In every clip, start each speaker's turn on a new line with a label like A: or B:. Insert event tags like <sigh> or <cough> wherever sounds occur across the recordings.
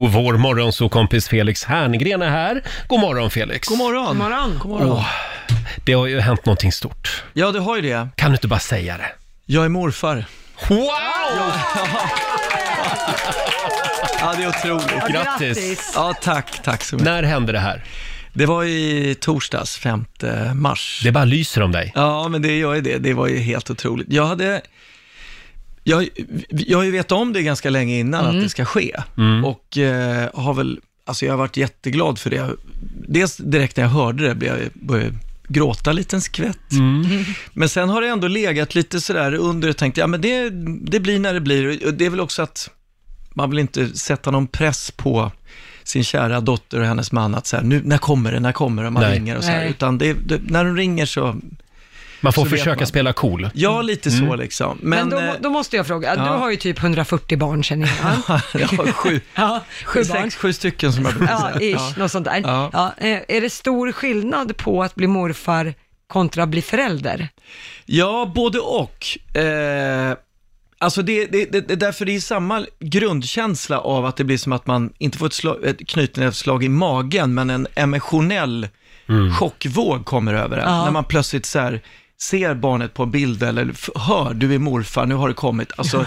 A: Och vår morgonsokompis Felix Herngren är här. God morgon Felix!
B: God morgon.
C: God morgon.
B: God morgon.
A: Åh, det har ju hänt någonting stort.
B: Ja, du har ju det.
A: Kan du inte bara säga det?
B: Jag är morfar.
A: Wow!
B: Ja, det är otroligt.
A: Grattis.
B: Ja, tack, tack så mycket.
A: När hände det här?
B: Det var i torsdags, 5 mars.
A: Det bara lyser om dig.
B: Ja, men det gör ju det. Det var ju helt otroligt. Jag hade... Jag, jag har ju vetat om det ganska länge innan
A: Mm.
B: att det ska ske. Och eh, har väl... Alltså jag har varit jätteglad för det. Dels direkt när jag hörde det blev jag började gråta en liten skvätt.
A: Mm.
B: Men sen har det ändå legat lite sådär under och tänkt, ja men det, det blir när det blir. Och det är väl också att man vill inte sätta någon press på sin kära dotter och hennes man att så här, nu, när kommer det, när kommer det, och man
A: Nej.
B: ringer och så här.
C: Nej.
B: Utan det, det, när de ringer så,
A: Man får
B: Så vet
A: försöka
B: man.
A: spela cool.
B: ja lite så liksom.
C: Men
B: Men,
C: då,
B: eh, <laughs>
C: då måste jag fråga, du har ju typ 140 barn känner jag.
B: jag har sju,
C: Ja, sju barn.
B: sex, sju stycken
C: <laughs>
B: som jag brukar
C: Ja,
B: säga.
C: ish,
B: Ja.
C: något sånt där. Ja.
B: Ja.
C: eh, är det stor skillnad på att bli morfar kontra bli förälder?
B: Ja, både och. Eh, alltså det, det, det, det är därför det är samma grundkänsla av att det blir som att man inte får ett, slag, ett knytnävsslag i magen, men en emotionell chockvåg kommer över en.
C: Ja.
B: När man plötsligt så här ser barnet på en bild eller f- hör, du är morfar, nu har det kommit. Alltså,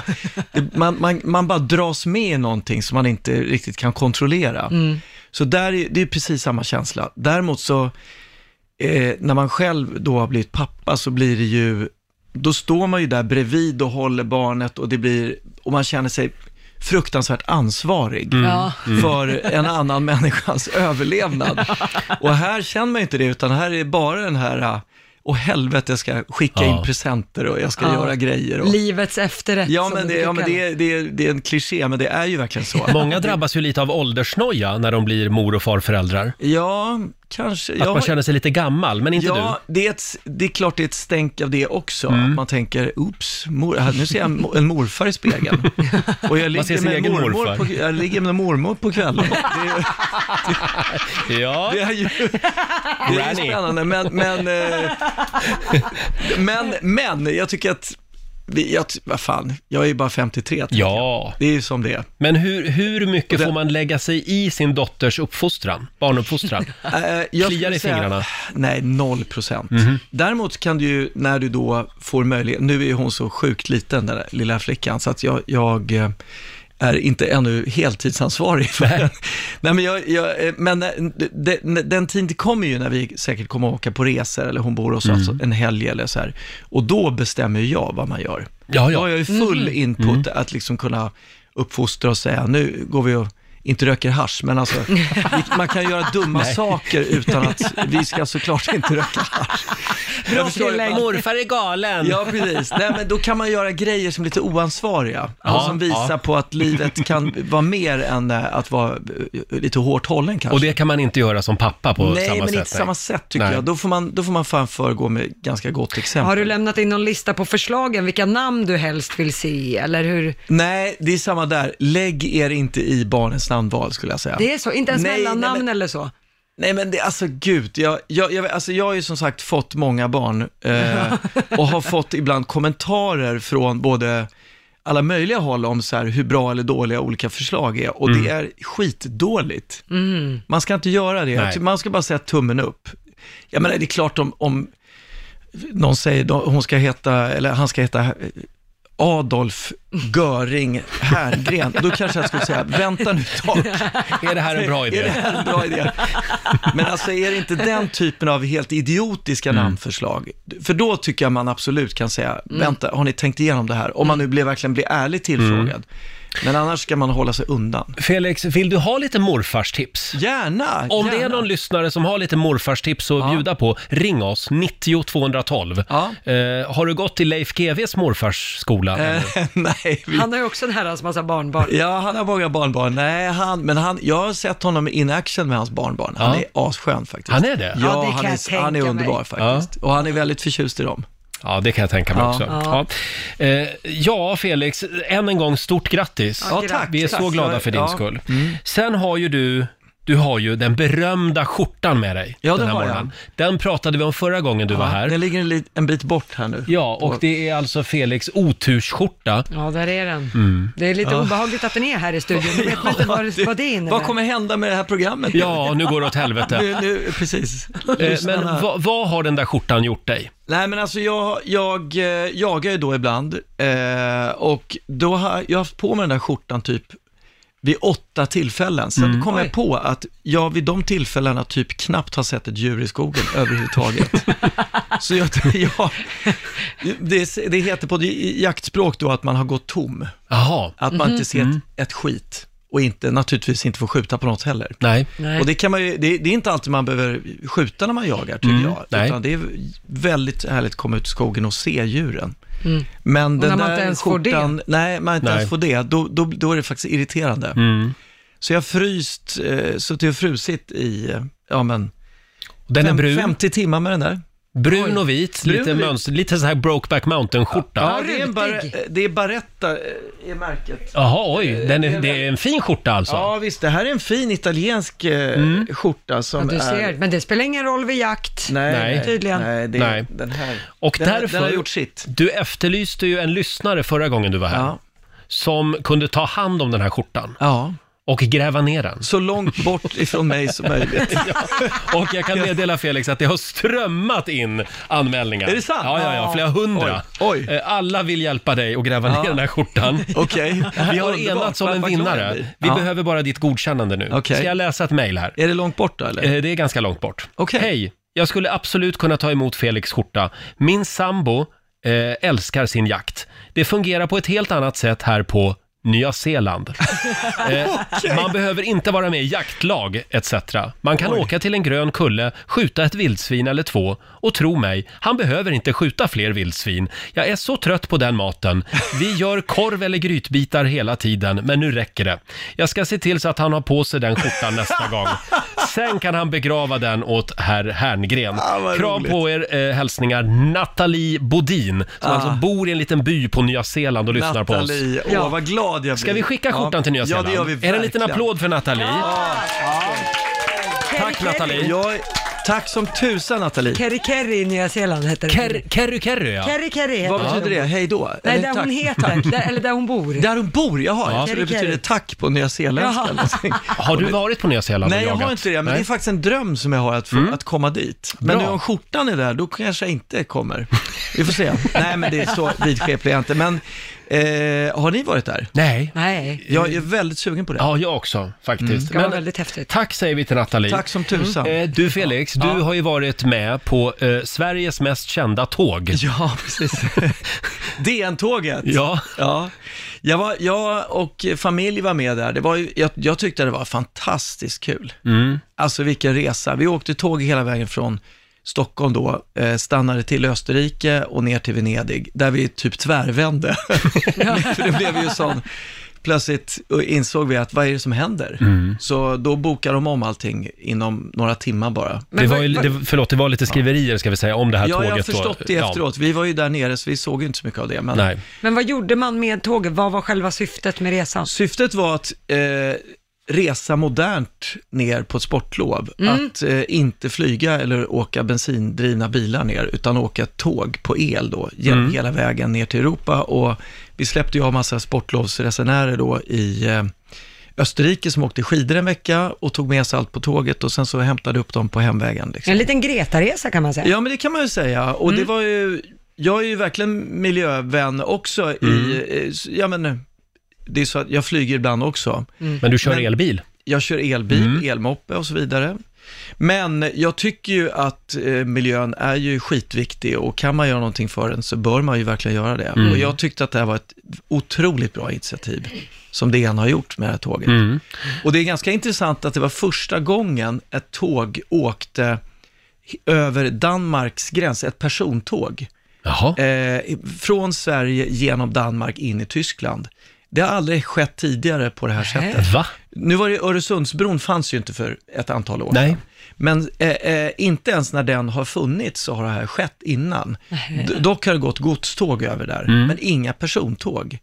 B: det, man, man, man bara dras med i någonting som man inte riktigt kan kontrollera. Så där är, det är precis samma känsla. Däremot så, eh, när man själv då har blivit pappa så blir det ju, då står man ju där bredvid och håller barnet och det blir, och man känner sig fruktansvärt ansvarig
A: Mm.
C: Ja.
B: för en annan människas <laughs> överlevnad. Och här känner man ju inte det, utan här är bara den här, och helvete, jag ska skicka
A: Ja.
B: in presenter och jag ska
C: Ja.
B: göra grejer. Och,
C: Livets efterrätt
B: ja,
C: som
B: men, det,
C: brukar
B: ja, men det,
C: kallas.
B: är, det, är, det är en kliché, men det är ju verkligen så.
A: Många drabbas ju lite av åldersnoja när de blir mor och farföräldrar.
B: Ja, kanske.
A: Att
B: jag
A: man
B: har-
A: känner sig lite gammal, men inte Mm.
B: ja, Det, är ett, det är klart det är ett stänk av det också. Att man tänker, oops, mor, här, nu ser jag en mo- en morfar
A: <laughs>
B: i spegeln. Och jag
A: ser
B: ligger,
A: sin
B: med
A: egen
B: mormor,
A: morfar.
B: på, jag ligger med mormor på kvällen.
A: <laughs>
B: Det,
A: du. Ja,
B: det är ju det är ju
A: Granny.
B: spännande, men, men, eh, men, men jag tycker att, vi, jag, ty- vad fan, jag är ju bara 53. tänker jag.
A: ja.
B: Det är ju som det är.
A: men hur, hur mycket
B: det-
A: får man lägga sig i sin dotters uppfostran,
B: <laughs>
A: barnuppfostran?
B: Eh, jag
A: Kliar
B: skulle
A: i fingrarna? Mhm.
B: Nej, noll procent. Däremot kan du ju, när du då får möjlighet, nu är ju hon så sjukt liten den där lilla flickan, så att jag, jag eh, är inte ännu heltidsansvarig för den. <laughs> Nej, men, jag, jag, eh, men den, den tiden kommer ju när vi säkert kommer att åka på resor, eller hon bor hos oss
A: Mm.
B: en helg eller så här, och då bestämmer ju jag vad man gör.
A: Ja,
B: Då har
A: ja.
B: jag ju full
C: Mm.
B: input
A: Mm.
B: att liksom kunna uppfostra och säga, nu går vi och inte röker hasch, men
C: <laughs>
B: alltså, vi- man kan göra dumma saker utan att vi ska såklart inte röka
C: <laughs>
B: hasch. Jag förstår ju-
A: Morfar är galen.
B: Ja, precis. Nej, men då kan man göra grejer som är lite oansvariga och
A: Ja,
B: som visar
A: ja.
B: på att livet kan vara mer än eh, att vara eh, lite hårt hållen kanske.
A: Och det kan man inte göra som pappa på
B: nej,
A: samma
B: men
A: sätt.
B: inte samma sätt tycker
A: Nej.
B: jag. Då får, man, då får man fan föregå med ganska gott exempel.
C: Har du lämnat in någon lista på förslagen, vilka namn du helst vill se, eller hur?
B: Nej, det är samma där. Lägg er inte i barnens namnval skulle jag säga.
C: Det är så, inte ens
B: Nej,
C: mellannamn
B: nej, men-
C: eller så.
B: Nej men det, alltså gud, jag, jag, jag, alltså, jag har ju som sagt fått många barn eh, och har fått ibland kommentarer från både alla möjliga håll om så här, hur bra eller dåliga olika förslag är och det är skitdåligt. Man ska inte göra det,
A: Nej.
B: Ty- man ska bara säga tummen upp. Jag menar det är klart om, om någon säger då- hon ska heta, eller han ska heta eh, Adolf Göring Herngren, då kanske jag skulle säga, vänta nu ett tag.
A: Är det här en bra
B: <laughs> Är det
A: idé?
B: här en
A: <laughs>
B: bra idé? Men alltså är det inte den typen av helt idiotiska
A: Mm.
B: namnförslag? För då tycker jag man absolut kan säga, vänta, har ni tänkt igenom det här? Om man nu blir, verkligen blir ärligt
A: Mm.
B: tillfrågad. Men annars ska man hålla sig undan.
A: Felix, vill du ha lite morfarstips?
B: Gärna!
A: Om
B: gärna.
A: det är någon lyssnare som har lite morfarstips att bjuda på, ring oss, 90 212.
B: Ja.
A: Eh, har du gått i Leif GWs morfars skola?
B: Eh, <laughs> Nej, vi...
C: Han har ju också en herrans massa barnbarn.
B: Ja, han har många barnbarn. Nej, han, men han, jag har sett honom in action med hans barnbarn. Han
A: Ja.
B: är asskön faktiskt.
A: Han är det?
B: Ja,
C: Ja, det kan
B: han,
C: jag
B: är, han är
C: tänka
B: underbar
C: mig.
B: faktiskt. Och han är väldigt förtjust i dem.
A: Ja, det kan jag tänka mig
B: Ja.
A: också. Ja. Eh, ja, Felix, än en gång stort grattis.
B: Ja, Mm. tack.
A: Vi är så
B: tack.
A: glada för din
B: Ja.
A: skull. Sen har ju du Du har ju den berömda skjortan med dig
B: Ja,
A: den
B: det
A: här
B: har jag.
A: morgonen. Den pratade vi om förra gången du var
B: Ja,
A: här.
B: Den ligger en, lit, en bit bort här nu.
A: Ja, och det är alltså Felix otursskjorta.
C: Ja, där är den.
B: Mm.
C: Det är lite obehagligt att den är här i studion. Jag vet
B: <laughs>
C: inte vad, vad det innebär.
B: Vad kommer hända med det här programmet?
A: Ja, nu går det åt helvete.
B: Nu, nu, precis.
A: Eh, Men
B: Lyssnarna-
A: vad, vad har den där skjortan gjort dig?
B: Nej men alltså jag, jag eh, jagar ju då ibland eh, och då har jag haft på mig den där skjortan typ vid åtta tillfällen. Sen
A: Mm.
B: kom
C: Oj.
B: jag på att jag vid de tillfällena typ knappt har sett ett djur
A: <laughs>
B: i skogen överhuvudtaget. Så jag, jag, det, det heter på jaktspråk då att man har gått tom,
A: Jaha,
B: att man inte ser
A: Mm.
B: ett, ett skit och inte, naturligtvis inte får skjuta på något heller.
A: nej.
C: Nej.
B: Och det, kan man ju, det, det är inte alltid man behöver skjuta när man jagar, tycker jag.
A: Mm. nej.
B: Utan det är väldigt härligt att komma ut i skogen och se djuren. Men den
C: Mm. när man
B: där
C: inte ens får
B: skjortan, får det. Nej, man inte
A: Nej. Mm.
B: ens får det. Då, då, då är det faktiskt irriterande. Så jag har fryst, eh, suttit och frusit i, eh, ja men,
A: Och Den är
B: fem-
A: brun,
B: 50 timmar med den där.
A: brun och vit,
B: Brun
A: lite
B: och vit.
A: mönster, lite så här Brokeback Mountain-skjorta.
B: det är, en bar,
C: rutig.
B: det är Barretta, eh, är märket.
A: Jaha, oj, den är, det är en fin skjorta alltså.
B: Ja, visst, det här är en fin italiensk eh,
A: Mm.
B: skjorta
C: Ja,
B: som
C: du
B: är...
C: ser. Men det spelar ingen roll vid jakt.
B: Nej,
A: Nej.
B: nej,
C: Tydligen.
B: Nej, det,
A: Nej.
B: nej. Den här.
A: Och
B: den, har-
A: därför-
B: den har gjort sitt.
A: Du efterlyste ju en lyssnare förra gången du var här,
B: Ja.
A: som kunde ta hand om den här skjortan
B: ja,
A: och gräva ner den.
B: så långt bort ifrån mig som möjligt.
A: Och jag kan meddela Felix att det har strömmat in anmälningar.
B: Är det sant?
A: Ja, ja, ja, flera hundra.
B: Oj, oj.
A: Eh, Alla vill hjälpa dig att gräva ner den här skjortan.
B: <laughs> Okej.
A: Vi har
B: Underbart.
A: enats om
B: Vad-
A: en
B: vad glad jag
A: vinnare.
B: blir.
A: Vi
B: Ja.
A: behöver bara ditt godkännande nu.
B: Okej.
A: Ska jag läsa ett mejl här?
B: Är det långt bort då eller?
A: Eh, Det är ganska långt bort.
B: Okej.
A: Hej! Jag skulle absolut kunna ta emot Felix skjorta. Min sambo eh, älskar sin jakt. Det fungerar på ett helt annat sätt här på Nya Zeeland. eh, Man behöver inte vara med i jaktlag etc. Man kan åka till en grön kulle, skjuta ett vildsvin eller två och tro mig, han behöver inte skjuta fler vildsvin. Jag är så trött på den maten. Vi gör korv eller grytbitar hela tiden, men nu räcker det. Jag ska se till så att han har på sig den skjortan nästa gång. Sen kan han begrava den åt herr Herngren.
B: Ah, vad
A: Kram
B: roligt.
A: på er, eh, hälsningar Nathalie Bodin, som
B: Ah.
A: alltså bor i en liten by på Nya Zeeland och lyssnar på oss.
B: Nathalie, åh
C: Ja.
B: vad glad jag blir.
A: Ska vi skicka skjortan till Nya Zeeland?
B: Ja, det gör vi
A: är det en liten
B: verkligen.
A: applåd för Nathalie? Tack,
C: Kerry,
A: Nathalie.
B: Jag, tack som tusan Nathalie.
C: Kerry Kerry i Nya Zeeland heter det.
A: Ker- Kerry Kerry, ja.
C: Kerry Kerry heter
B: Vad
C: det.
B: betyder det? Hej då?
C: Nej,
B: Eller
C: där
B: tack.
C: hon heter. Där, eller där hon bor.
B: Där hon bor, jaha. Jag tror det
C: Kerry,
B: betyder
C: Kerry.
B: tack på nyzeeländska
C: Jaha.
B: <laughs> eller någonting.
A: Har du varit på Nya Zeeland
B: Nej,
A: och
B: jag
A: jagat?
B: har inte det, men
A: Nej. Mm.
B: det är faktiskt en dröm som jag har att, få, att komma dit. Men
A: Bra.
B: nu om skjortan är där, då kanske jag inte kommer. Vi får se. Nej, men det är så vidskeplig jag inte. Men eh, har ni varit där?
A: Nej.
C: Nej,
B: Jag är väldigt sugen på det.
A: Ja, jag också faktiskt.
C: det var
A: Men,
C: väldigt häftigt.
A: tack säger vi till Nathalie.
B: Tack som tusan.
A: Eh, Du Felix, du har ju varit med på eh, Sveriges mest kända tåg.
B: Ja, precis. <laughs> DN-tåget.
A: Ja.
B: ja. Jag, var, jag och familj var med där. Det var ju, jag, jag tyckte det var fantastiskt kul.
A: Mm.
B: Alltså vilken resa. Vi åkte tåg hela vägen från Stockholm då, eh, stannade till Österrike och ner till Venedig, där vi typ
A: <laughs>
B: tvärvände. <laughs> För det blev ju sån, plötsligt insåg vi att vad är det som händer?
A: Mm.
B: Så då bokade de om allting inom några timmar bara.
A: Det var ju, det, förlåt, det var lite skriverier ska vi säga om det här
B: Ja,
A: tåget.
B: jag har
A: då.
B: förstått det
A: Ja.
B: efteråt. Vi var ju där nere, så vi såg ju inte så mycket av det. Men
A: Nej.
C: Men vad gjorde man med tåget? Vad var själva syftet med resan?
B: Syftet var att eh, resa modernt ner på ett sportlov. Att eh, inte flyga eller åka bensindrivna bilar ner, utan åka tåg på el då, genom hela vägen ner till Europa. Och vi släppte ju av massa sportlovsresenärer då i eh, Österrike som åkte skidor en vecka och tog med sig allt på tåget och sen så hämtade upp dem på hemvägen. Liksom.
C: En liten Greta-resa kan man säga.
B: Ja, men det kan man ju säga. Och det var ju, jag är ju verkligen miljövän också i, eh, s- ja men, det är så att jag flyger ibland också.
A: Men du kör
B: Men-
A: elbil.
B: Jag kör elbil, elmoppe och så vidare. Men jag tycker ju att eh, miljön är ju skitviktig och kan man göra någonting för den så bör man ju verkligen göra det. Och jag tyckte att det här var ett otroligt bra initiativ som DN har gjort med det här tåget. Och det är ganska intressant att det var första gången ett tåg åkte över Danmarks gräns, ett persontåg,
A: Jaha.
B: eh, från Sverige genom Danmark in i Tyskland. Det har aldrig skett tidigare på det här sättet.
A: Va?
B: Nu var det Öresundsbron fanns ju inte för ett antal år
A: Nej.
B: sedan. Men eh, eh, inte ens när den har funnits så har det här
A: Mm.
B: skett innan. D- dock har det gått godståg över där, men inga persontåg.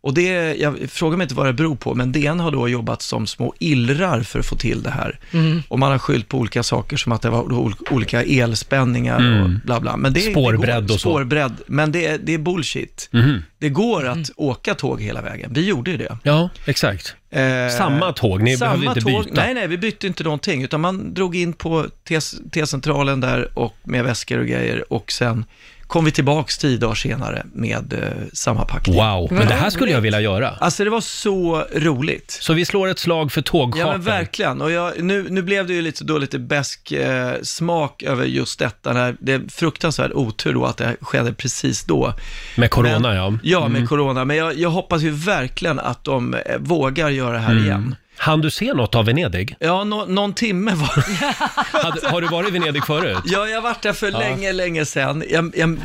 B: Och det, jag frågar mig inte vad det beror på, men DN har då jobbat som små illrar för att få till det här. Och man har skyllt på olika saker, som att det var ol- olika elspänningar och bla bla. Men det, det går-
A: Mm. Spårbredd och så. Mm.
B: Spårbredd, men det, det är bullshit. Det går att åka tåg hela vägen. Vi gjorde ju det.
A: Ja, exakt.
B: Eh,
A: Samma tåg, ni behövde inte byta.
B: Nej, nej, vi bytte inte någonting, utan man drog in på T- T-centralen där och med väskor och grejer och sen kom vi tillbaks tio dagar senare med eh, samma packning.
A: Wow, men
C: Vad
A: det här skulle jag
C: roligt.
A: vilja göra.
B: Alltså det var så roligt.
A: Så vi slår ett slag för
B: Ja men
A: tågcharter.
B: verkligen, och jag, nu, nu blev det ju lite, då lite bäsk eh, smak över just detta, när det är fruktansvärd otur då att det skedde precis då.
A: med corona, ja. Mm.
B: Ja, med corona, men jag, jag hoppas ju verkligen att de eh, vågar göra det här
A: Mm.
B: igen.
A: Hann du se något av Venedig?
B: Ja, nå- någon timme var det.
A: Hade, har du varit i Venedig förut?
B: Ja, jag har varit där för länge, länge sedan. Jag, jag,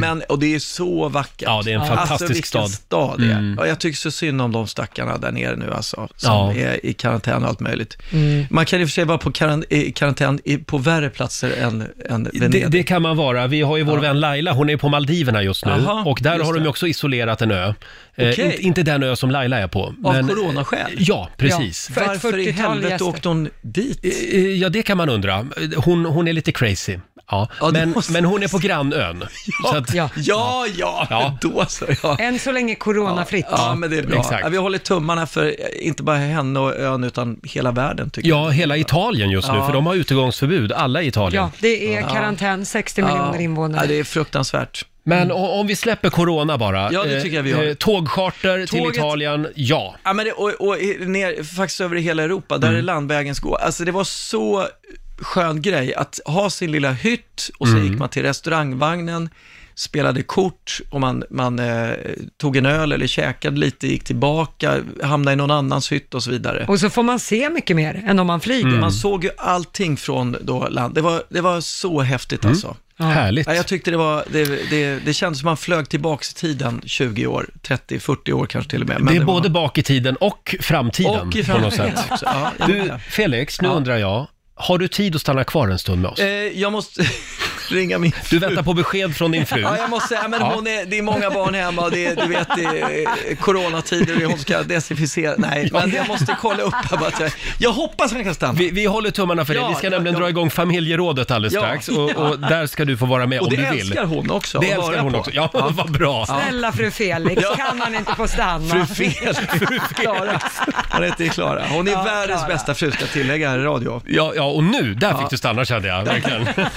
B: men, och det är så vackert.
A: Ja, det är en fantastisk
B: alltså, vilken
A: stad. Mm.
B: stad det är. Ja, jag tycker så synd om de stackarna där nere nu alltså, som
A: Ja.
B: är i karantän och allt möjligt.
C: Mm.
B: Man kan i och för sig vara på karan- i karantän i- på värre platser än, än
A: Det,
B: Venedig.
A: det kan man vara. Vi har ju vår vän Laila, hon är på Maldiverna just nu.
B: Jaha,
A: och där
B: just
A: har de ju
B: det.
A: också isolerat en ö. Eh,
B: Okej.
A: inte, inte den ö som Laila är på.
B: Av
A: men-
B: coronaskäl.
A: Ja, precis.
C: Ja. För ett
B: Varför i
C: 40-tal
B: helvete
C: gäster.
B: åkte hon dit?
A: Eh, Ja, det kan man undra. Hon, hon är lite crazy. Ja.
B: Ja, det
A: men,
B: måste-
A: men hon är på grannön. Så att,
C: Ja.
B: Ja, ja,
A: Ja.
B: då så. Ja.
C: Än så länge coronafritt.
B: Ja, men det är bra.
A: Exakt.
B: Ja, vi håller tummarna för eh, inte bara henne och ön, utan hela världen tycker jag.
A: ja, hela Italien just nu,
B: Ja.
A: för de har utegångsförbud, alla i Italien.
C: Ja, det är karantän, 60 miljoner
B: Ja,
C: invånare.
B: det är fruktansvärt.
A: Men o- om vi släpper corona bara.
B: Ja, det
A: eh,
B: tycker jag vi gör.
A: eh, Tågcharter till
B: Tåget-
A: Italien, ja.
B: Ja, men det, och, och ner, faktiskt över hela Europa, där
A: Mm.
B: är landvägens gå. Alltså det var så skön grej att ha sin lilla hytt och
A: Mm.
B: så gick man till restaurangvagnen, spelade kort och man, man eh, tog en öl eller käkade lite, gick tillbaka, hamnade i någon annans hytt och så vidare.
C: Och så får man se mycket mer än om man flyger.
A: Mm.
B: Man såg ju allting från då land. Det var, det var så häftigt
A: Mm.
B: alltså.
A: Härligt.
B: Ja, jag tyckte det var, det, det, det kändes som man flög tillbaks i tiden 20 år, 30, 40 år kanske till och med. Men
A: det är
B: var-
A: både bak i tiden och framtiden
B: och i
A: på något
B: framtiden
A: sätt.
B: också. Ja, jag menar
A: Du,
B: det.
A: Felix, nu
B: Ja.
A: undrar jag, har du tid att stanna kvar en stund med oss?
B: Eh, jag måste ringa min fru.
A: Du väntar på besked från din fru.
B: Ja, jag måste säga, men
A: Ja.
B: hon är, det är många barn hemma och det är, du vet, det är eh, coronatider och hon ska desinficera. Nej, men jag måste kolla upp här bara att jag, jag hoppas han kan stanna.
A: Vi, vi håller tummarna för dig.
B: Ja,
A: Vi ska
B: ja,
A: nämligen
B: ja.
A: dra igång familjerådet alldeles
B: Ja.
A: strax och, och där ska du få vara med
B: och
A: om
B: det
A: du vill.
B: älskar hon också.
A: Det
B: att
A: älskar
B: höra
A: hon
B: på.
A: också. Ja, <laughs> vad bra.
C: Snälla fru Felix, kan man inte få stanna?
B: Fru <laughs> Fel. Klara. Hon heter Klara. Hon är
C: Ja,
B: världens
C: Klara.
B: bästa fru, ska jag tillägga här i radio.
A: Ja, ja, och nu, där fick du stanna kände jag. Verkligen.